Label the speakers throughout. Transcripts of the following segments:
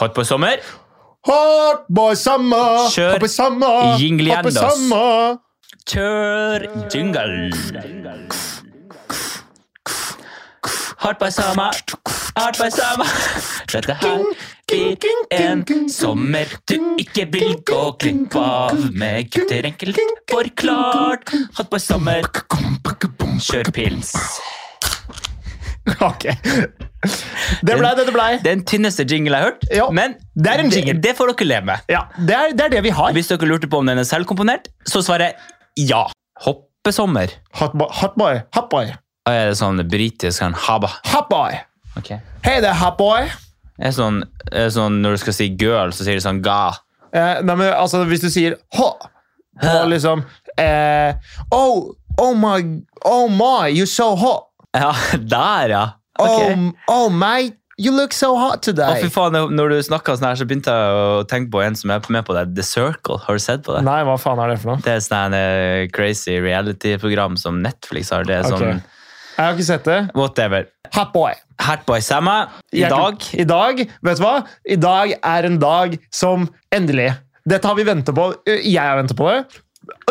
Speaker 1: Hot på sommer.
Speaker 2: Hotboy summer!
Speaker 1: Kjør
Speaker 2: Hotboy summer!
Speaker 1: jingle
Speaker 2: Hotboy
Speaker 1: igjen, ass.
Speaker 2: summer!
Speaker 1: Kjør jingle. Hardt på sama, hardt på sama. Dette her blir en sommer du ikke vil gå glipp av. Med gutter enkelt forklart. Hardt på sommer, kjør pils.
Speaker 2: Ok. Det blei det det blei.
Speaker 1: Den tynneste jingle jeg har hørt,
Speaker 2: Ja.
Speaker 1: men
Speaker 2: Det er en jingle.
Speaker 1: det, det får dere leve med.
Speaker 2: Ja, det er, det er det vi har.
Speaker 1: Hvis dere lurte på om den er selvkomponert, så svarer jeg ja. Hoppesommer.
Speaker 2: Hotboy, hotboy, hotboy.
Speaker 1: Er det sånn britisk sånn haba?
Speaker 2: Hotboy.
Speaker 1: Ok.
Speaker 2: Hei there, hotboy.
Speaker 1: er sånn, er sånn Når du skal si girl, så sier du sånn ga.
Speaker 2: Eh, nei, men altså, hvis du sier hå, og liksom eh, Oh, oh my, oh my, you're so hot.
Speaker 1: Ja, der, ja.
Speaker 2: Oh, oh my, you look so hot
Speaker 1: Å, fy
Speaker 2: today.
Speaker 1: faen, når du snakka sånn her, så begynte jeg å tenke på en som er med på det. The Circle. Har du sett på det?
Speaker 2: Nei, hva faen er det for noe?
Speaker 1: Det er sånn eh, crazy reality-program som Netflix har. Det er
Speaker 2: Ok.
Speaker 1: sånn
Speaker 2: Jeg har ikke sett det.
Speaker 1: whatever.
Speaker 2: Hotboy.
Speaker 1: Hatboy Samma. I
Speaker 2: Jeg-
Speaker 1: dag
Speaker 2: I dag, vet du hva? I dag er en dag som endelig Dette har vi ventet på. Jeg har ventet på det.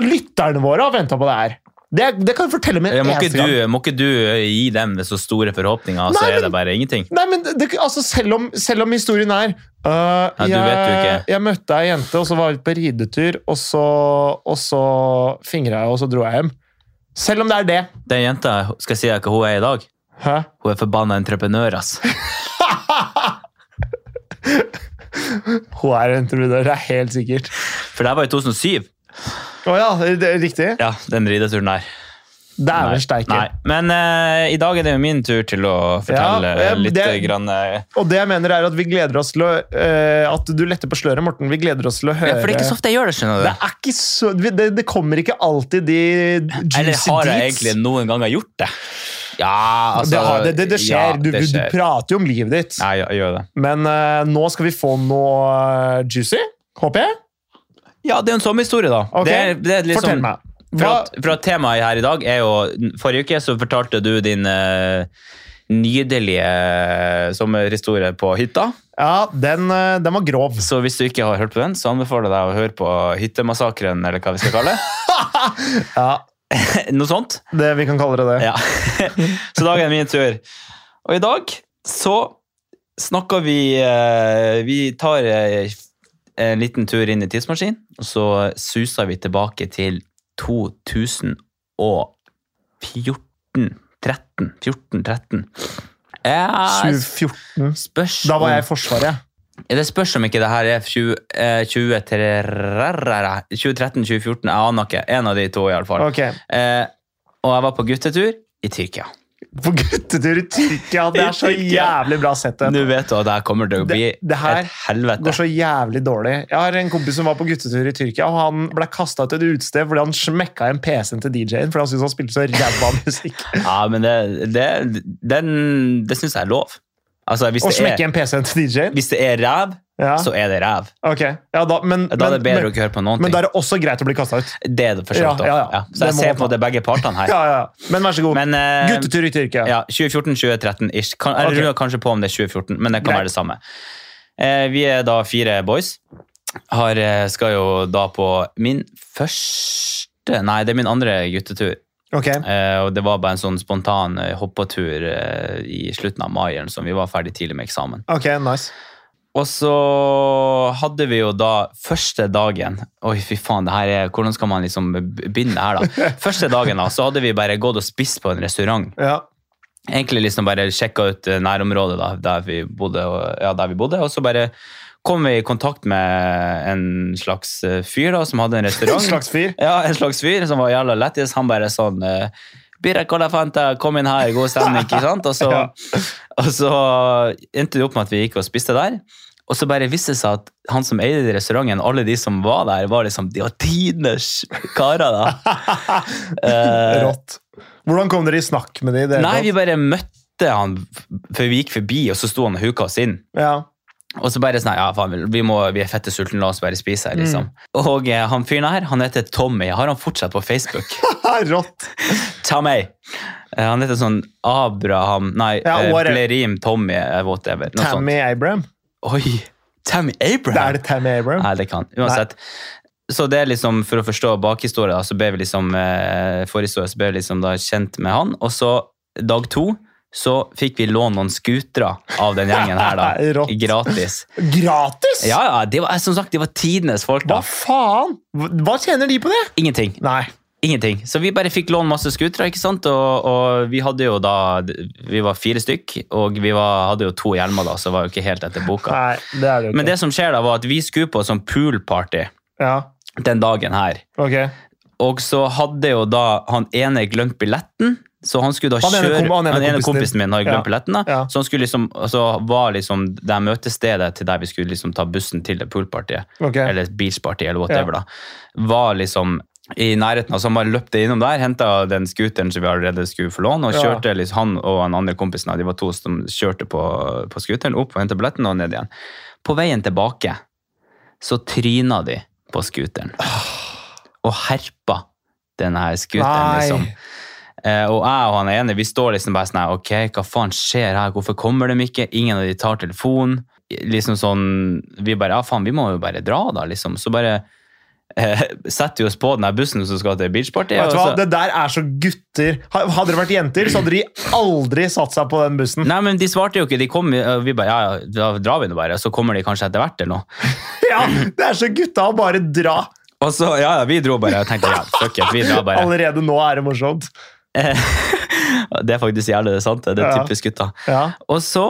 Speaker 2: Lytterne våre har ventet på det her. Det, det kan jeg fortelle med
Speaker 1: Ja,
Speaker 2: en
Speaker 1: må
Speaker 2: eneste
Speaker 1: ikke,
Speaker 2: gang.
Speaker 1: du, må ikke du eh, gi dem så store forhåpninger, og så
Speaker 2: Nei,
Speaker 1: er
Speaker 2: men-
Speaker 1: det bare ingenting?
Speaker 2: Nei, men det, altså, selv, om, selv om historien er øh,
Speaker 1: Ja, du
Speaker 2: jeg,
Speaker 1: vet jo ikke.
Speaker 2: jeg møtte ei jente, og så var vi på ridetur, og så, og så fingra jeg, og så dro jeg hjem. Selv om det er det.
Speaker 1: Den jenta, skal jeg si deg hva hun er i dag?
Speaker 2: Hæ?
Speaker 1: Hun er forbanna entreprenør, ass.
Speaker 2: Hun er en entreprenør, det er helt sikkert.
Speaker 1: For det her var i 2007.
Speaker 2: Å ja, det er riktig.
Speaker 1: Ja, den rideturen der.
Speaker 2: Dæven steike.
Speaker 1: Nei, men eh, i dag er det jo min tur til å fortelle
Speaker 2: Ja, eh,
Speaker 1: litt
Speaker 2: det-
Speaker 1: grann eh,
Speaker 2: Og det jeg mener er at vi gleder oss til å eh, At du letter på sløret, Morten. Vi gleder oss til å høre
Speaker 1: ja, For det er ikke så ofte jeg gjør det, skjønner du.
Speaker 2: Det er ikke så vi- det, det kommer ikke alltid de juicy
Speaker 1: Eller
Speaker 2: deets.
Speaker 1: har jeg egentlig noen ganger gjort det? Ja, altså
Speaker 2: det, har- det, det, det skjer.
Speaker 1: ja,
Speaker 2: du,
Speaker 1: det skjer.
Speaker 2: du prater jo om livet ditt.
Speaker 1: Nei, jeg, jeg gjør det.
Speaker 2: Men eh, nå skal vi få noe eh, juicy, håper jeg.
Speaker 1: Ja, det er jo en sommerhistorie, da.
Speaker 2: Ok,
Speaker 1: Det er, det er liksom,
Speaker 2: Fortell meg.
Speaker 1: For
Speaker 2: Hva,
Speaker 1: at, for at temaet her i dag er jo Forrige uke så fortalte du din eh, nydelige sommerhistorie på hytta.
Speaker 2: ja, den, eh, den var grov.
Speaker 1: Så hvis du ikke har hørt på den, så anbefaler jeg deg å høre på Hyttemassakren, eller hva vi skal kalle det.
Speaker 2: Ja,
Speaker 1: Noe sånt.
Speaker 2: det, vi kan kalle det det.
Speaker 1: Ja. så dagen er min tur. Og i dag så snakker vi eh, Vi tar eh, en liten tur inn i tidsmaskinen, og så suser vi tilbake til 2014. 13. 14, 13. Jeg
Speaker 2: 2014.
Speaker 1: spørs
Speaker 2: Da var
Speaker 1: om-
Speaker 2: jeg i Forsvaret.
Speaker 1: Ja, Det spørs om ikke det her er 20, eh, 20, 2013, 2014, jeg aner ikke. En av de to, iallfall.
Speaker 2: Ok.
Speaker 1: Eh, og jeg var på guttetur i Tyrkia.
Speaker 2: På guttetur i Tyrkia. Det er så
Speaker 1: I Tyrkia.
Speaker 2: jævlig bra sett.
Speaker 1: Nå vet du at det her kommer til å bli
Speaker 2: Det- det her
Speaker 1: et
Speaker 2: Det
Speaker 1: helvete.
Speaker 2: går så jævlig dårlig. Jeg har en kompis som var på guttetur i Tyrkia, og han ble kasta ut et utested fordi han smekka igjen PC-en til DJ-en fordi han syntes han spilte så ræva musikk.
Speaker 1: Ja, men det, det, den- det syns jeg er lov. Altså, hvis
Speaker 2: Å
Speaker 1: det
Speaker 2: smekke
Speaker 1: er,
Speaker 2: igjen PC-en til DJ-en?
Speaker 1: hvis det er ræv,
Speaker 2: Ja.
Speaker 1: så er det ræv.
Speaker 2: ok. Ja, da, men,
Speaker 1: Da er det bedre å
Speaker 2: men,
Speaker 1: ikke høre på noen ting.
Speaker 2: men, men da er det også greit å bli kasta ut.
Speaker 1: Det er det for så vidt
Speaker 2: Ja,
Speaker 1: også.
Speaker 2: ja, ja.
Speaker 1: Ja. Så
Speaker 2: Det
Speaker 1: jeg
Speaker 2: må
Speaker 1: ser
Speaker 2: man
Speaker 1: på
Speaker 2: ta.
Speaker 1: det begge partene her.
Speaker 2: Ja, ja, ja. Men vær så god.
Speaker 1: Men eh,
Speaker 2: Guttetur i Tyrkia.
Speaker 1: Ja, 2014-2013-ish. Kan- Jeg
Speaker 2: Ok.
Speaker 1: runder kanskje på om det er 2014, men det kan
Speaker 2: Greit.
Speaker 1: være det samme. Eh, vi er da fire boys. Har, eh, skal jo da på min første Nei, det er min andre guttetur.
Speaker 2: Ok.
Speaker 1: Eh, og det var bare en sånn spontan eh, hoppetur eh, i slutten av mai, eller noe sånt. vi var ferdig tidlig med eksamen.
Speaker 2: Ok, nice.
Speaker 1: Og så hadde vi jo da første dagen Oi, fy faen, det her er, hvordan skal man liksom begynne her, da? Første dagen da, så hadde vi bare gått og spist på en restaurant.
Speaker 2: Ja.
Speaker 1: Egentlig liksom bare sjekka ut eh, nærområdet da, der vi bodde, og, ja, der vi bodde, og så bare kom vi i kontakt med en slags eh, fyr da, som hadde en
Speaker 2: En
Speaker 1: restaurant.
Speaker 2: slags fyr.
Speaker 1: Ja, en slags fyr som var jævla lættis. Han bare sånn eh, Birra Cola Fanta, kom inn her, god stemning, ikke sant? Og så,
Speaker 2: Ja.
Speaker 1: og så endte det opp med at vi gikk og spiste der. Og så bare viste det seg at han som eide restauranten, alle de som var der, var liksom de var tidenes karer, da. Eh,
Speaker 2: Rått. Hvordan kom dere i snakk med de? i det hele
Speaker 1: nei, vi
Speaker 2: tatt?
Speaker 1: bare møtte han, for vi gikk forbi, og så sto han og huka oss inn.
Speaker 2: Ja.
Speaker 1: Og så bare sånn, ja faen, vi, må, vi er fette sultne, la oss bare spise her, liksom.
Speaker 2: Mm.
Speaker 1: Og eh, han fyren her, han heter Tommy. Har han fortsatt på Facebook?
Speaker 2: Rått.
Speaker 1: Ta meg! Eh, Han heter sånn Abraham Nei,
Speaker 2: Ja,
Speaker 1: eh,
Speaker 2: whatever.
Speaker 1: Blerim Tommy eh, whatever. Noe sånt.
Speaker 2: Tammy Abraham.
Speaker 1: Oi! Tammy
Speaker 2: Det
Speaker 1: Abraham?
Speaker 2: er det Tammy Abram.
Speaker 1: Nei, det kan. Uansett. Så det er liksom, For å forstå bakhistoria, så ble vi liksom eh, forhistoria, så ble vi liksom da kjent med han. Og så, dag to, så fikk vi låne noen skutere av den gjengen her, da.
Speaker 2: Rått.
Speaker 1: Gratis.
Speaker 2: Gratis!
Speaker 1: Ja, ja, det var, som sagt, det var tidenes folk,
Speaker 2: Hva
Speaker 1: da.
Speaker 2: faen? Hva hva tjener de på det?
Speaker 1: Ingenting.
Speaker 2: Nei.
Speaker 1: Ingenting. Så vi bare fikk låne masse skutere, ikke sant? Og, og vi hadde jo da Vi var fire stykk, og vi var, hadde jo to hjelmer, da, så var jo ikke helt etter boka.
Speaker 2: Nei, det er det jo ikke.
Speaker 1: Men det som skjer da, var at vi skulle på sånn poolparty
Speaker 2: Ja,
Speaker 1: den dagen her.
Speaker 2: ok.
Speaker 1: Og så hadde jo da han ene glemt billetten, så han skulle da
Speaker 2: Han ene
Speaker 1: kjøre
Speaker 2: kom- han ene kompisen
Speaker 1: kompisen min hadde glemt
Speaker 2: Ja.
Speaker 1: billetten, da.
Speaker 2: Ja.
Speaker 1: Så han skulle liksom, så var liksom det møtestedet til der vi skulle liksom ta bussen til det poolpartiet,
Speaker 2: ok.
Speaker 1: eller beachparty, eller whatever, da, var liksom i nærheten, altså han bare løpte innom der, hentet den skuteren som vi allerede skulle få låne, og
Speaker 2: Ja.
Speaker 1: kjørte liksom, han og han andre kompisen, da, de var to som kjørte på, på skuteren, opp og hentet billetten og ned igjen. På veien tilbake, så tryna de på skuteren
Speaker 2: Ah.
Speaker 1: og herpa denne her skuteren,
Speaker 2: Nei.
Speaker 1: liksom. Eh, og jeg og han ene, vi står liksom bare sånn her, ok, hva faen skjer her, hvorfor kommer de ikke? Ingen av de tar telefon. Liksom sånn, vi bare, ja faen, vi må jo bare dra da, liksom. Så bare eh, setter vi oss på denne bussen som skal til beachparty.
Speaker 2: Vet du hva,
Speaker 1: og så-
Speaker 2: det der er så gutter. Ha- Hadde det vært jenter, så hadde de aldri satt seg på den bussen.
Speaker 1: Nei, men de svarte jo ikke, de kom, eh, vi bare, ja, ja, da drar vi nå bare, så kommer de kanskje etter hvert eller noe.
Speaker 2: Ja, det er så gutta å bare dra.
Speaker 1: Og så, ja, ja, vi dro bare, og tenkte, ja, fuck it, vi drar bare.
Speaker 2: Allerede nå er det morsomt.
Speaker 1: Det er faktisk jævlig det er sant, det er
Speaker 2: Ja.
Speaker 1: typisk gutta.
Speaker 2: Ja.
Speaker 1: Og så,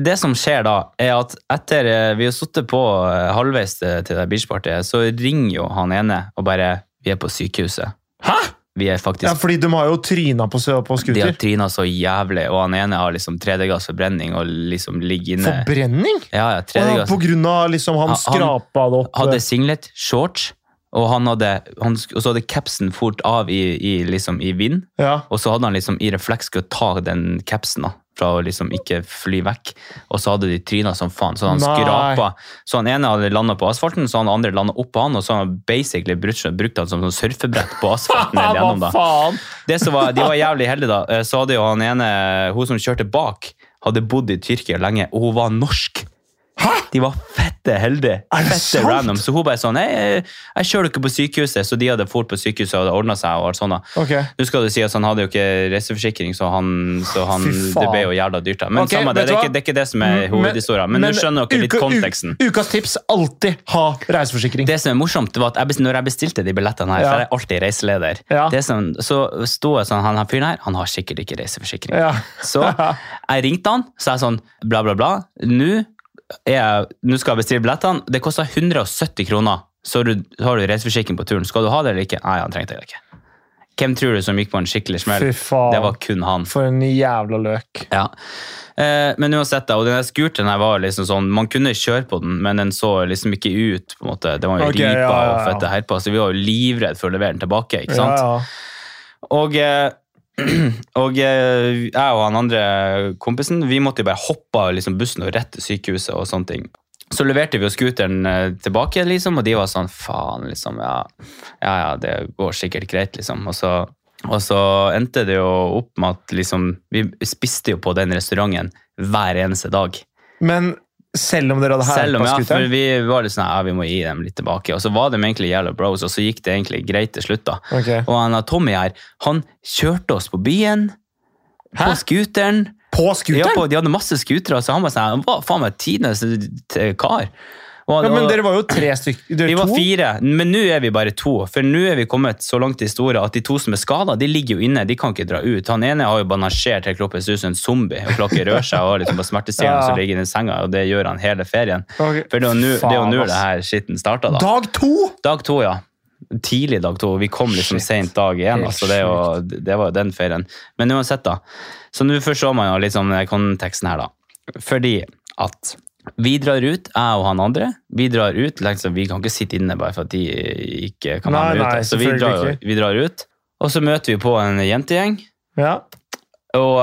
Speaker 1: det som skjer da, er at etter eh, vi har sittet på eh, halvveis til til det beachpartyet, så ringer jo han ene og bare Vi er på sykehuset.
Speaker 2: Hæ?
Speaker 1: Vi er
Speaker 2: Ja,
Speaker 1: faktisk
Speaker 2: fordi de har jo tryna på, sø- på
Speaker 1: De har
Speaker 2: skuter.
Speaker 1: tryna så jævlig, og han ene har liksom tredjegassforbrenning og liksom ligger inne.
Speaker 2: Forbrenning?
Speaker 1: Ja, ja,
Speaker 2: Å,
Speaker 1: tredjegass.
Speaker 2: på grunn av liksom han
Speaker 1: Han-
Speaker 2: skrapa det opp.
Speaker 1: Hadde singlet, shorts, og, han hadde, han, sk- og så hadde capsen fort av i, i, liksom, i vind.
Speaker 2: Ja.
Speaker 1: Og så hadde han liksom i refleks skulle ta den capsen da, fra å liksom ikke fly vekk. Og så hadde de tryna som faen, så han
Speaker 2: Nei.
Speaker 1: skrapa. Så han ene hadde landa på asfalten, så han andre landa oppå han, og så han basically brukt, brukt han som sånn surfebrett på asfalten ned
Speaker 2: Hva
Speaker 1: gjennom da.
Speaker 2: faen?
Speaker 1: Det som var, de var jævlig heldige da, eh, så hadde jo han ene, hun som kjørte bak, hadde bodd i Tyrkia lenge, og hun var norsk.
Speaker 2: Hæ?
Speaker 1: De var fette heldige.
Speaker 2: Er det
Speaker 1: Fette
Speaker 2: sant?
Speaker 1: random. Så hun bare sånn, «Nei, jeg, jeg kjører ikke på sykehuset, så de hadde fort på sykehuset og ordnet seg og alt sånt da.
Speaker 2: Ok.
Speaker 1: Nå skal du si at han hadde jo ikke reiseforsikring, så, han, så han,
Speaker 2: Fy faen.
Speaker 1: det ble jo jævla dyrt. da. Men
Speaker 2: Ok,
Speaker 1: samme, det,
Speaker 2: vet
Speaker 1: det, er
Speaker 2: du hva? Mm,
Speaker 1: ikke, det er ikke det som er hovedhistorien. Men, nå skjønner dere litt
Speaker 2: uka- u-
Speaker 1: konteksten.
Speaker 2: Ukas tips alltid ha reiseforsikring.
Speaker 1: Det som er morsomt, var at jeg, bes- når jeg bestilte de billettene her,
Speaker 2: Ja.
Speaker 1: for jeg er alltid reiseleder,
Speaker 2: Ja.
Speaker 1: det som, så sto jeg sånn, han her fyren her, han har sikkert ikke reiseforsikring.
Speaker 2: Ja.
Speaker 1: Så jeg ringte han, så jeg sånn, bla bla bla, nå er jeg- nå skal jeg bestille billettene, det koster 170 kroner, så har du, så har du reiseforsikring på turen. Skal du ha det eller ikke? Nei, han trengte det ikke. Hvem tror du som gikk på en skikkelig smell?
Speaker 2: Fy faen.
Speaker 1: Det var kun han.
Speaker 2: For en jævla løk.
Speaker 1: Ja. Eh, men uansett, da, og den skurten her var liksom sånn Man kunne kjøre på den, men den så liksom ikke ut. på en måte. Det var jo
Speaker 2: Ok,
Speaker 1: ripa
Speaker 2: ja, ja,
Speaker 1: og
Speaker 2: ja.
Speaker 1: fette herpa, så vi var jo livredd for å levere den tilbake. ikke sant?
Speaker 2: Ja, ja.
Speaker 1: Og, eh, og eh, jeg og han andre kompisen vi måtte jo bare hoppe av liksom bussen og rett til sykehuset. og sånne ting. Så leverte vi jo scooteren eh, tilbake, liksom, og de var sånn faen, liksom. Ja, ja, ja det går sikkert greit, liksom. Og så, og så endte det jo opp med at liksom, vi spiste jo på den restauranten hver eneste dag.
Speaker 2: Men selv om dere hadde
Speaker 1: Selv om
Speaker 2: herpa
Speaker 1: ja, for
Speaker 2: skuteren?
Speaker 1: vi var litt sånn, ja, vi må gi dem litt tilbake. Og så var de egentlig jævla bros, og så gikk det egentlig greit til slutt, da.
Speaker 2: Ok.
Speaker 1: Og han, eh, Tommy her, han kjørte oss på byen, på
Speaker 2: Hæ?
Speaker 1: skuteren.
Speaker 2: På
Speaker 1: Ja,
Speaker 2: skuteren?
Speaker 1: på, de hadde masse skutere, så han var sånn, han var faen meg tidenes eh, kar. Og han-
Speaker 2: Ja, men
Speaker 1: og-
Speaker 2: dere var jo tre stykker.
Speaker 1: vi
Speaker 2: Dere
Speaker 1: var
Speaker 2: to?
Speaker 1: fire, men nå er vi bare to. For nå er vi kommet så langt i historien at de to som er skada, de ligger jo inne. De kan ikke dra ut. Han ene har jo banasjert helt kroppen ser ut som en zombie og klarer ikke røre seg og har liksom på smertestillende
Speaker 2: Ja.
Speaker 1: som ligger inne i senga, og det gjør han hele ferien.
Speaker 2: Ok.
Speaker 1: For det er jo nå- det er jo
Speaker 2: Faen,
Speaker 1: nå
Speaker 2: ass.
Speaker 1: det her skitten starta, da.
Speaker 2: Dag to!
Speaker 1: Dag to, ja. Tidlig dag to. Vi kom liksom
Speaker 2: Shit.
Speaker 1: sent dag én.
Speaker 2: Helt
Speaker 1: Altså, det, er jo- det var jo den ferien. Men uansett, da. Så nå forstår man jo litt sånn konteksten her, da. Fordi at vi drar ut, jeg og han andre. Vi drar ut, liksom, vi kan ikke sitte inne bare for at de eh, ikke kan
Speaker 2: Nei,
Speaker 1: være med
Speaker 2: nei,
Speaker 1: ute. Så vi
Speaker 2: selvfølgelig
Speaker 1: drar, jo-
Speaker 2: ikke.
Speaker 1: vi drar ut, og så møter vi på en jentegjeng.
Speaker 2: Ja.
Speaker 1: Og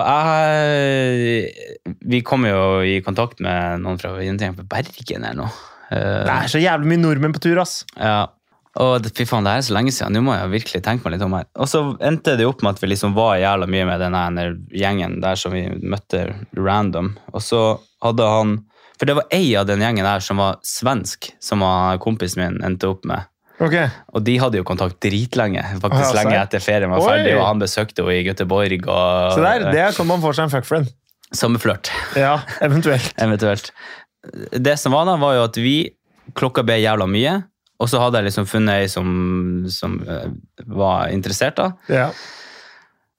Speaker 1: jeg Vi kommer jo i kontakt med noen fra jentegjeng på Bergen eller noe. Eh,
Speaker 2: Det er så jævlig mye nordmenn på tur, ass.
Speaker 1: ja. Og det- fy faen, det her er så lenge siden. Nå må jeg virkelig tenke meg litt om her. Og så endte det opp med at vi liksom var jævla mye med den her gjengen der som vi møtte random. Og så hadde han For det var ei av den gjengen her som var svensk, som var kompisen min endte opp med.
Speaker 2: Ok.
Speaker 1: Og de hadde jo kontakt dritlenge,
Speaker 2: Ah,
Speaker 1: faktisk
Speaker 2: ja,
Speaker 1: lenge
Speaker 2: serr?
Speaker 1: etter ferien var
Speaker 2: Oi!
Speaker 1: ferdig, og han besøkte henne i Göteborg. Og,
Speaker 2: Så der, det er sånn man får seg en fuckfriend.
Speaker 1: Sommerflørt,
Speaker 2: Ja, eventuelt.
Speaker 1: eventuelt. Det som var da, var jo at vi klokka ble jævla mye, og så hadde jeg liksom funnet ei som, som eh, var interessert, da.
Speaker 2: Ja.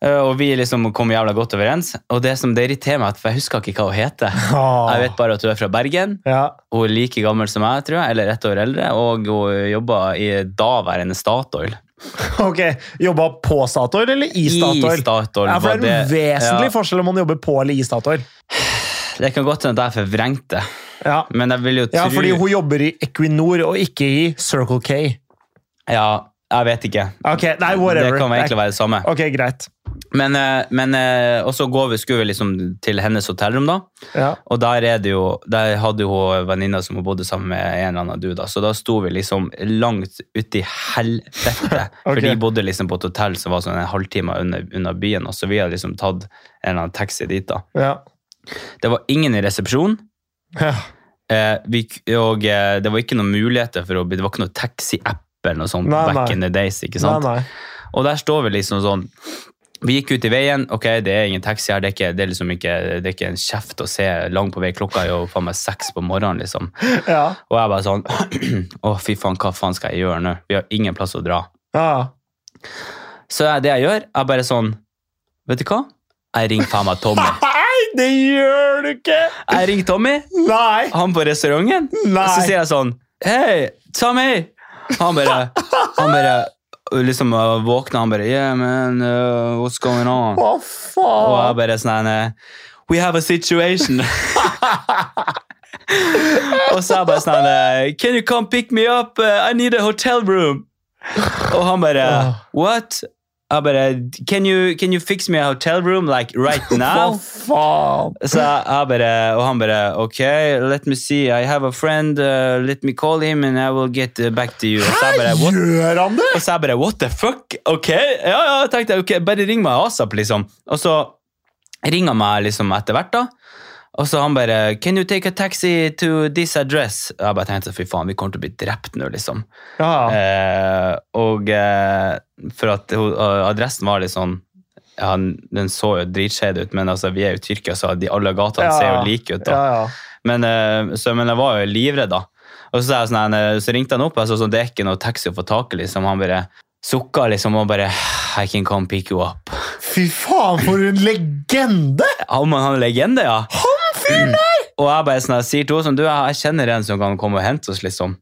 Speaker 1: Eh, Og vi liksom kom jævla godt overens. Og det som det irriterer meg, at for jeg husker ikke hva hun heter.
Speaker 2: Ah.
Speaker 1: Jeg vet bare at hun er fra Bergen.
Speaker 2: Ja.
Speaker 1: Hun er like gammel som meg, tror jeg, eller ett år eldre. Og hun jobber i daværende Statoil.
Speaker 2: Ok, Jobba på Statoil eller i Statoil?
Speaker 1: I Statoil.
Speaker 2: Ja, for
Speaker 1: var
Speaker 2: det er en vesentlig
Speaker 1: ja,
Speaker 2: forskjell om man jobber på eller i Statoil.
Speaker 1: det kan godt hende at jeg forvrengte,
Speaker 2: Ja.
Speaker 1: men jeg vil jo tro
Speaker 2: ja, fordi hun jobber i Equinor og ikke i Circle K.
Speaker 1: Ja, jeg vet ikke.
Speaker 2: Ok, nei, whatever.
Speaker 1: Det kan egentlig være det samme.
Speaker 2: Ok, greit.
Speaker 1: Men, eh, men eh, Og så går vi, skulle vi liksom til hennes hotellrom, da.
Speaker 2: Ja.
Speaker 1: Og der, er det jo, der hadde jo hun venninna som hun bodde sammen med, en eller annen du, da. Så da sto vi liksom langt uti helvete. For
Speaker 2: Ok.
Speaker 1: de bodde liksom på et hotell som var sånn en halvtime unna, unna byen, og så vi hadde liksom tatt en eller annen taxi dit, da.
Speaker 2: Ja.
Speaker 1: Det var ingen i resepsjon.
Speaker 2: Ja.
Speaker 1: Eh, vi, k- og eh, det var ikke noen muligheter for å bli Det var ikke noen taxi-app eller noe sånt
Speaker 2: Nei,
Speaker 1: back
Speaker 2: nei.
Speaker 1: in the days, ikke
Speaker 2: Nei,
Speaker 1: sant?
Speaker 2: nei.
Speaker 1: Og der står vi liksom sånn Vi gikk ut i veien. Ok, det er ingen taxi her. Det er ikke, det er liksom ikke, det er ikke en kjeft å se langt på vei. Klokka er jo faen meg seks på morgenen, liksom.
Speaker 2: Ja.
Speaker 1: Og jeg bare sånn Å, fy faen, hva faen skal jeg gjøre nå? Vi har ingen plass å dra.
Speaker 2: Ja.
Speaker 1: Så jeg, det jeg gjør, er bare sånn Vet du hva? Jeg ringer faen meg Tommy.
Speaker 2: Nei, det gjør du ikke!
Speaker 1: Jeg ringer Tommy,
Speaker 2: Nei!
Speaker 1: han på restauranten, og så
Speaker 2: Nei.
Speaker 1: sier jeg sånn Hei, Tommy! Han bare Han bare liksom uh, våkner, han bare Yeah, man, uh, what's going on?
Speaker 2: Hva
Speaker 1: Og jeg
Speaker 2: faen?
Speaker 1: bare sånn her, We have a situation. og så er jeg bare sånn her, Can you come pick me up? Uh, I need a hotel room. Og han bare uh, What? Jeg bare Can you, can you fix me a hotel room like right
Speaker 2: Hva
Speaker 1: now?
Speaker 2: faen?
Speaker 1: Så jeg jeg bare, og han bare OK, uh, let me see. I have a friend. Uh, let me call him, and I will get uh, back to you. Og så jeg bare, what
Speaker 2: Gjør han det?!
Speaker 1: og så jeg bare, what the fuck? Ok, ja, ja, tenkte jeg, ok, bare ring meg ASAP, liksom. Og så ringer han meg liksom etter hvert da, og så han bare, can you take a taxi to this address? Og jeg bare tenkte, fy faen, vi kommer til å bli drept nå, liksom.
Speaker 2: Ja.
Speaker 1: Eh, og eh, for at ho- og adressen var litt sånn, ja, den- den så jo dritskjede ut, men altså, vi er jo i Tyrkia, så de, alle gatene
Speaker 2: Ja.
Speaker 1: ser jo like ut da.
Speaker 2: Ja, ja.
Speaker 1: Men, eh, så, men jeg var jo livredd, da. Og så, sa jeg sånn, eh, så ringte han opp, og jeg sa sånn, det er ikke noe taxi å få tak i. Liksom. Han bare sukka liksom, og bare I can come pick you up.
Speaker 2: Fy faen, for en legende!
Speaker 1: Ja, men han er legende, ja.
Speaker 2: Han fyren der!
Speaker 1: Og jeg bare sånn, jeg sier til henne sånn, du, jeg, jeg kjenner en som kan komme og hente oss, liksom.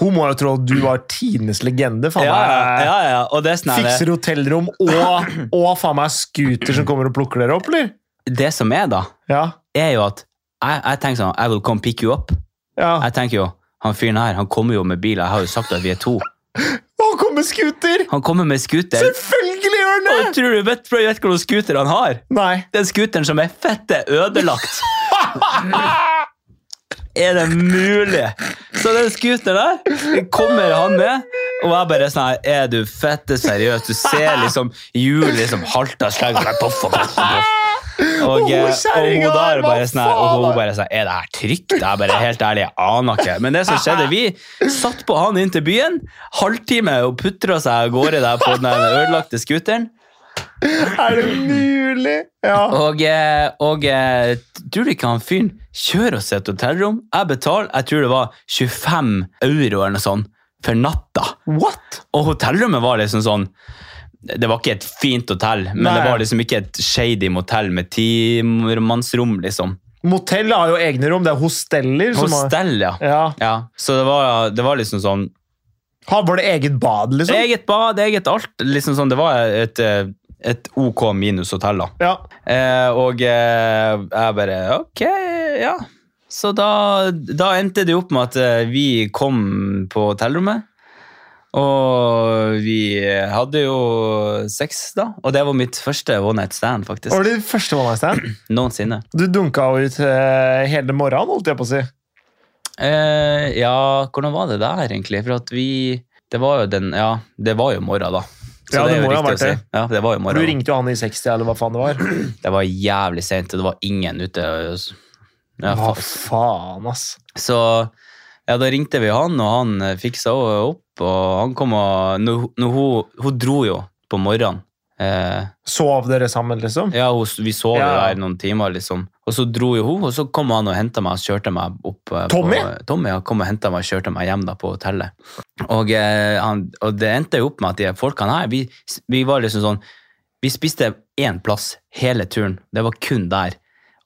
Speaker 2: Hun må jo tro at du var tidenes legende. faen
Speaker 1: Ja, ja,
Speaker 2: meg.
Speaker 1: ja, ja. Og det, er sånn, her,
Speaker 2: Fikser hotellrom og, og faen meg scooter som kommer og plukker dere opp, eller?
Speaker 1: det som er, da,
Speaker 2: Ja.
Speaker 1: er jo at jeg, jeg tenker sånn I will come pick you up.
Speaker 2: ja.
Speaker 1: Jeg tenker jo, han fyren her, han kommer jo med bil. Jeg har jo sagt at vi er to.
Speaker 2: Å, kom med scooter!
Speaker 1: Han kommer med scooter.
Speaker 2: Selvfølgelig gjør han
Speaker 1: Og
Speaker 2: det!
Speaker 1: tror du vet, vet du hva slags scooter han har?
Speaker 2: Nei.
Speaker 1: den scooteren som er fette ødelagt. Er det mulig? Så den scooteren der kommer han med, og jeg bare sånn her, Er du fette seriøs? Du ser liksom hjulet liksom halter og slenger seg poff og poff. og poff. Og, eh, og hun der bare sånn her, og hun bare sånn Er det her trygt? Jeg bare helt ærlig, jeg aner ikke. Men det som skjedde, vi satt på han inn til byen, halvtime og putra seg av gårde der på den der ødelagte scooteren.
Speaker 2: Er det mulig? Ja.
Speaker 1: Og, eh, og eh, tror du ikke han fyren kjører oss til et hotellrom? Jeg betaler, jeg tror det var 25 euro eller noe sånt for natta.
Speaker 2: What?
Speaker 1: Og hotellrommet var liksom sånn Det var ikke et fint hotell, men
Speaker 2: Nei.
Speaker 1: det var liksom ikke et shady motell med timannsrom, liksom.
Speaker 2: Motell har jo egne rom. Det er hosteller som har
Speaker 1: Hostell, ja.
Speaker 2: ja.
Speaker 1: ja. Så det var, det var liksom sånn
Speaker 2: Har bare eget bad, liksom?
Speaker 1: Eget bad, eget alt. Liksom sånn, det var et, eh, et OK minus hotell, da.
Speaker 2: Ja.
Speaker 1: Eh, og eh, jeg bare Ok, ja. Så da, da endte det opp med at eh, vi kom på hotellrommet. Og vi hadde jo sex, da. Og det var mitt første one night stand, faktisk.
Speaker 2: Var det første one night stand?
Speaker 1: Noensinne.
Speaker 2: Du dunka jo ut eh, hele morgenen, holdt jeg på å si.
Speaker 1: Eh, ja, hvordan var det der, egentlig? For at vi Det var jo den Ja, det var jo morgen, da. Så
Speaker 2: Ja,
Speaker 1: det,
Speaker 2: det
Speaker 1: er jo
Speaker 2: må jo ha
Speaker 1: riktig å
Speaker 2: vært
Speaker 1: si.
Speaker 2: det.
Speaker 1: Ja, det var jo
Speaker 2: For Du
Speaker 1: morgen.
Speaker 2: ringte jo han i 60, eller hva faen det var.
Speaker 1: Det var jævlig sent, og det var ingen ute. Ja,
Speaker 2: Hva
Speaker 1: fa-
Speaker 2: faen, ass.
Speaker 1: Så ja, da ringte vi han, og han eh, fiksa henne opp. Og han kom og når, hun- når hun, hun dro jo på morgenen. Eh,
Speaker 2: Sov dere sammen, liksom?
Speaker 1: ja, hun, vi sov jo
Speaker 2: Ja.
Speaker 1: der noen timer, liksom. Og så dro jo hun, og så kom han og henta meg og kjørte meg opp. eh,
Speaker 2: Tommy?
Speaker 1: På, Tommy ja, kom og hentet meg og kjørte meg hjem da på hotellet. Og, eh, han, og det endte jo opp med at de folkene her, vi, vi var liksom sånn Vi spiste én plass hele turen. Det var kun der.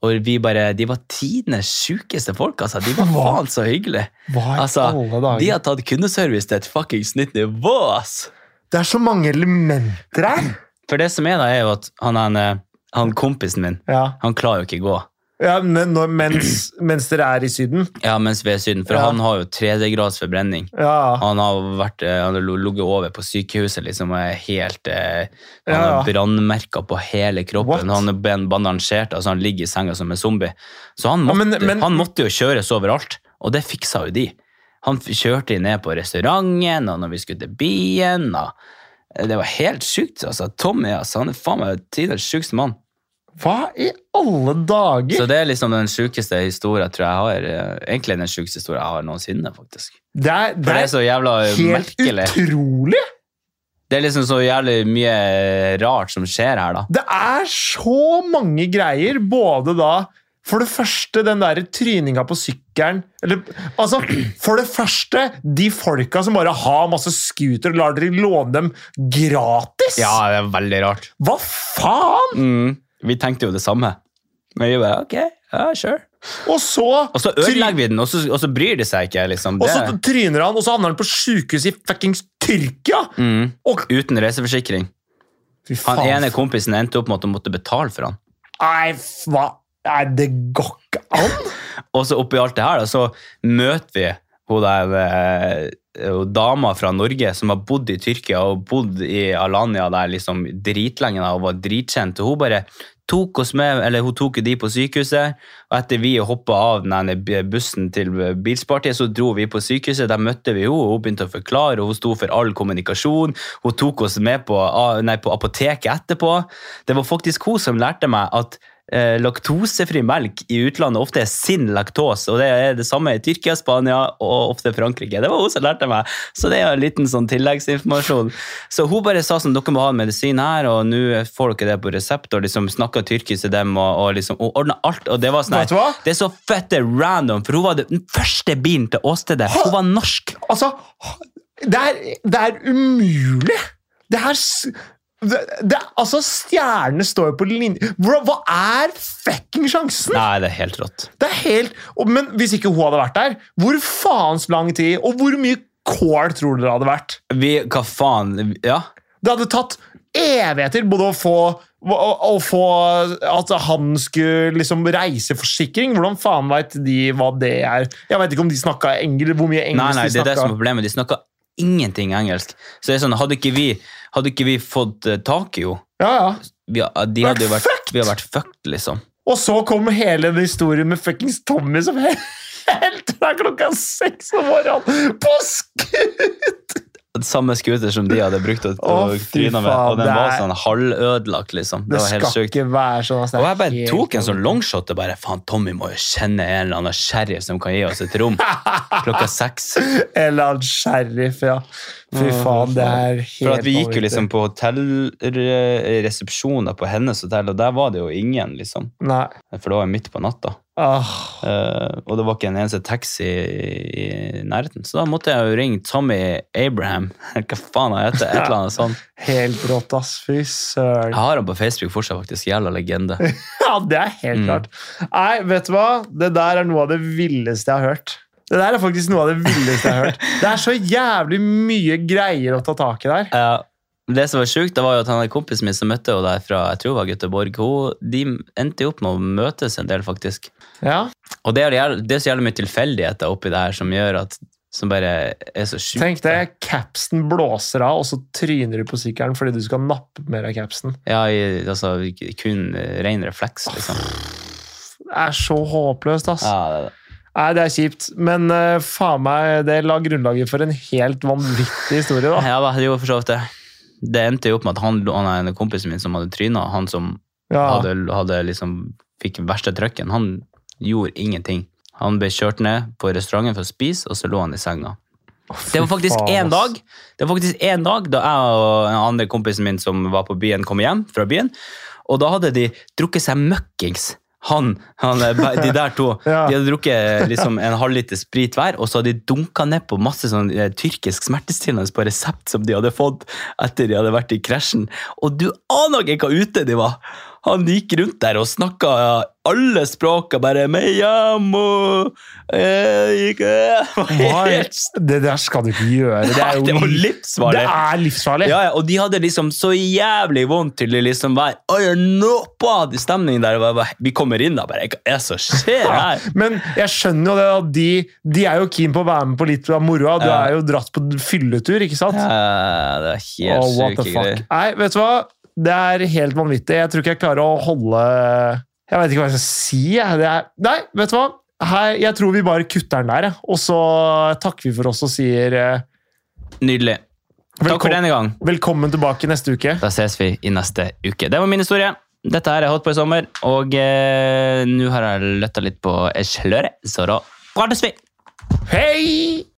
Speaker 1: Og vi bare, De var tidenes sjukeste folk, altså. De var
Speaker 2: Hva?
Speaker 1: faen så hyggelige.
Speaker 2: Hva i
Speaker 1: Altså,
Speaker 2: alle dager?
Speaker 1: De har tatt kundeservice til et fuckings nytt nivå, ass!
Speaker 2: Det er så mange elementer her!
Speaker 1: For det som er, da, er jo at han, han, eh, han kompisen min,
Speaker 2: Ja,
Speaker 1: han klarer jo ikke gå.
Speaker 2: ja men når, mens, mens dere er i Syden.
Speaker 1: Ja, mens vi er i Syden, for
Speaker 2: Ja.
Speaker 1: han har jo tredjegrads forbrenning.
Speaker 2: Ja.
Speaker 1: Han har vært, eh, han har ligget over på sykehuset liksom, og er helt eh, Han
Speaker 2: Ja, ja.
Speaker 1: har brannmerker på hele
Speaker 2: What?
Speaker 1: kroppen. Han er ben- bandasjert, altså han ligger i senga som en zombie. Så han
Speaker 2: Ja,
Speaker 1: måtte,
Speaker 2: men- men-
Speaker 1: han måtte jo kjøres overalt, og det fiksa jo de. Han f- kjørte de ned på restauranten, og når vi skulle til byen og eh, Det var helt sjukt. Altså. Tommy altså, han er faen meg tidenes sjukeste mann.
Speaker 2: Hva i alle dager?
Speaker 1: Så det er liksom den sjukeste historien tror jeg har. eh, Egentlig den sjukeste historien jeg har noensinne, faktisk.
Speaker 2: Det er,
Speaker 1: For
Speaker 2: det
Speaker 1: det er
Speaker 2: er
Speaker 1: så jævla
Speaker 2: helt
Speaker 1: merkelig.
Speaker 2: utrolig!
Speaker 1: Det er liksom så jævlig mye rart som skjer her, da.
Speaker 2: Det er så mange greier, både da For det første, den der tryninga på sykkelen eller, Altså, for det første, de folka som bare har masse scooter og lar dere låne dem gratis!
Speaker 1: Ja, det er veldig rart.
Speaker 2: Hva faen?!
Speaker 1: Mm. Vi tenkte jo det samme. Men vi bare, ok, ja, sure.
Speaker 2: Og så
Speaker 1: Og så ødelegger vi den, og så, og så bryr de seg ikke, liksom.
Speaker 2: Og
Speaker 1: Det,
Speaker 2: så tryner han, og så havner han på sjukehus i fuckings Tyrkia!
Speaker 1: mm.
Speaker 2: Og
Speaker 1: Uten reiseforsikring.
Speaker 2: Fy
Speaker 1: Han ene
Speaker 2: faen.
Speaker 1: kompisen endte opp med at hun måtte betale for han.
Speaker 2: Nei, f- hva Nei, det går ikke an!
Speaker 1: Og så oppi alt det her, da, så møter vi hun der eh, hun dama fra Norge som har bodd i Tyrkia og bodd i Alanya der liksom dritlenge da, og var dritkjent. Og hun bare tok oss med, eller hun tok jo de på sykehuset, og etter vi hoppa av den ene b- bussen til bilspartiet, så dro vi på sykehuset, der møtte vi henne, og hun begynte å forklare, og hun sto for all kommunikasjon, hun tok oss med på, a- nei, på apoteket etterpå. Det var faktisk hun som lærte meg at eh, laktosefri melk i utlandet ofte er sin laktose, og det er det samme i Tyrkia, Spania og ofte Frankrike. Det var hun som lærte meg, så det er jo en liten sånn tilleggsinformasjon. Så hun bare sa sånn, dere må ha en medisin her, og nå får dere det på resept, og liksom snakket tyrkisk til dem, og, og liksom, og ordnet alt, og det var sånn her,
Speaker 2: Vet du hva?
Speaker 1: det er så fette random, for hun var den første bilen til åstedet. Hun var norsk.
Speaker 2: Altså Det er, det er umulig! Det er s- det, det, altså, Stjernene står jo på linje Bro, Hva er fucking sjansen?!
Speaker 1: Nei, det er helt rått.
Speaker 2: Det er helt, og, men hvis ikke hun hadde vært der, hvor faens lang tid og hvor mye kål tror dere det hadde vært?
Speaker 1: Vi, hva faen, ja.
Speaker 2: Det hadde tatt evigheter både å få å, å få At han skulle liksom reiseforsikring. Hvordan faen veit de hva det er? Jeg veit ikke om de snakka engel, hvor mye
Speaker 1: Nei,
Speaker 2: engelsk
Speaker 1: nei, det
Speaker 2: de
Speaker 1: er det som er
Speaker 2: snakka.
Speaker 1: problemet. De snakker ingenting engelsk. Så det er sånn, hadde ikke vi, hadde ikke vi fått eh, tak i henne,
Speaker 2: Ja, ja.
Speaker 1: vi, eh, de
Speaker 2: Vært
Speaker 1: hadde jo vært,
Speaker 2: fucked!
Speaker 1: vi hadde vært fucked, liksom.
Speaker 2: Og så kom hele den historien med fuckings Tommy som helt fra klokka seks om morgenen på skudd!
Speaker 1: Samme skuter som de hadde brukt og,
Speaker 2: Å,
Speaker 1: og
Speaker 2: fy
Speaker 1: trynet med, og
Speaker 2: faen,
Speaker 1: den
Speaker 2: det
Speaker 1: var
Speaker 2: er-
Speaker 1: sånn halvødelagt, liksom. Det
Speaker 2: Det
Speaker 1: var helt
Speaker 2: skal
Speaker 1: sykt.
Speaker 2: ikke være sånn. ass. Det er
Speaker 1: Og jeg bare
Speaker 2: helt-
Speaker 1: tok en sånn longshot og bare, faen, Tommy må jo kjenne en eller annen sheriff som kan gi oss et rom klokka seks.
Speaker 2: Eller han sheriff, ja. Fy
Speaker 1: Å,
Speaker 2: faen, det er helt
Speaker 1: For at vi gikk jo
Speaker 2: vanvittig.
Speaker 1: liksom på hotellresepsjoner på hennes hotell, og der var det jo ingen, liksom.
Speaker 2: Nei.
Speaker 1: For det var jo midt på natta.
Speaker 2: Åh.
Speaker 1: Eh, og det var ikke en eneste taxi i, i nærheten. Så da måtte jeg jo ringe Tommy Abraham. Hva faen han heter? Et eller annet sånt.
Speaker 2: Helt rått, ass. Fy søren.
Speaker 1: Jeg har han på Facebook fortsatt, faktisk. Jævla legende.
Speaker 2: Ja, det er helt
Speaker 1: Mm.
Speaker 2: klart. Nei, vet du hva? Det der er noe av det villeste jeg har hørt. Det der er faktisk noe av det villeste jeg har hørt. Det er så jævlig mye greier å ta tak i der.
Speaker 1: Eh, det som var sjukt, det var jo at han der kompisen min som møtte henne der fra jeg tror det var Göteborg, hun, de endte jo opp med å møtes en del, faktisk.
Speaker 2: Ja.
Speaker 1: Og det er, jævla- det er så jævlig mye tilfeldigheter oppi det her som gjør at som bare er så sjukt.
Speaker 2: Tenk det, capsen blåser av, og så tryner du på sykkelen fordi du skal nappe mer av capsen.
Speaker 1: Ja, i, altså kun ren refleks, liksom.
Speaker 2: Det er så håpløst, ass.
Speaker 1: Ja, det, er det.
Speaker 2: Nei, det er kjipt, men eh, faen meg, det la grunnlaget for en helt vanvittig historie, da.
Speaker 1: Ja, da, det gjorde for så vidt det. Det endte jo opp med at han, han er en kompisen min som hadde tryna, han som
Speaker 2: Ja.
Speaker 1: hadde, hadde liksom fikk verste trøkken, han gjorde ingenting. Han ble kjørt ned på restauranten for å spise, og så lå han i senga. Det var faktisk én dag Det var faktisk en dag da jeg og den andre kompisen min som var på byen, kom hjem fra byen. Og da hadde de drukket seg møkkings. Han, han, eh, de der to.
Speaker 2: Ja.
Speaker 1: De hadde drukket liksom en halvliter sprit hver, og så hadde de dunka ned på masse sånn eh, tyrkisk smertestillende på resept som de hadde fått etter de hadde vært i krasjen. Og du aner ikke hva ute de var! Han gikk rundt der og snakka alle språka, bare «Meyamo, eh, ikke».
Speaker 2: Hva? Det der skal du ikke gjøre. Det er jo
Speaker 1: Det var
Speaker 2: Det
Speaker 1: livsfarlig!
Speaker 2: er livsfarlig.
Speaker 1: Ja, ja, og de hadde liksom så jævlig vondt til de liksom var «Oi, nå på!» i stemningen der. og jeg bare, Vi kommer inn da, bare, hva er det som skjer
Speaker 2: Ja,
Speaker 1: her?
Speaker 2: Men jeg skjønner jo det at de, de er jo keen på å være med på litt av moroa. Du
Speaker 1: Ja.
Speaker 2: er jo dratt på fylletur, ikke sant?
Speaker 1: Eh, det er helt
Speaker 2: Åh, what
Speaker 1: syke
Speaker 2: the fuck.
Speaker 1: greier.
Speaker 2: Nei, vet du hva? Det er helt vanvittig. Jeg tror ikke jeg klarer å holde Jeg vet ikke hva jeg skal si. jeg. Det er... Nei, vet du hva? Hei, jeg tror vi bare kutter den der, jeg. og så takker vi for oss og sier eh,
Speaker 1: Nydelig. Takk for
Speaker 2: velkommen,
Speaker 1: denne gang.
Speaker 2: velkommen tilbake neste uke.
Speaker 1: Da ses vi i neste uke. Det var min historie. Dette her er Hot på i sommer, og eh, nå har jeg løtta litt på sløret, så da prates vi!
Speaker 2: Hei!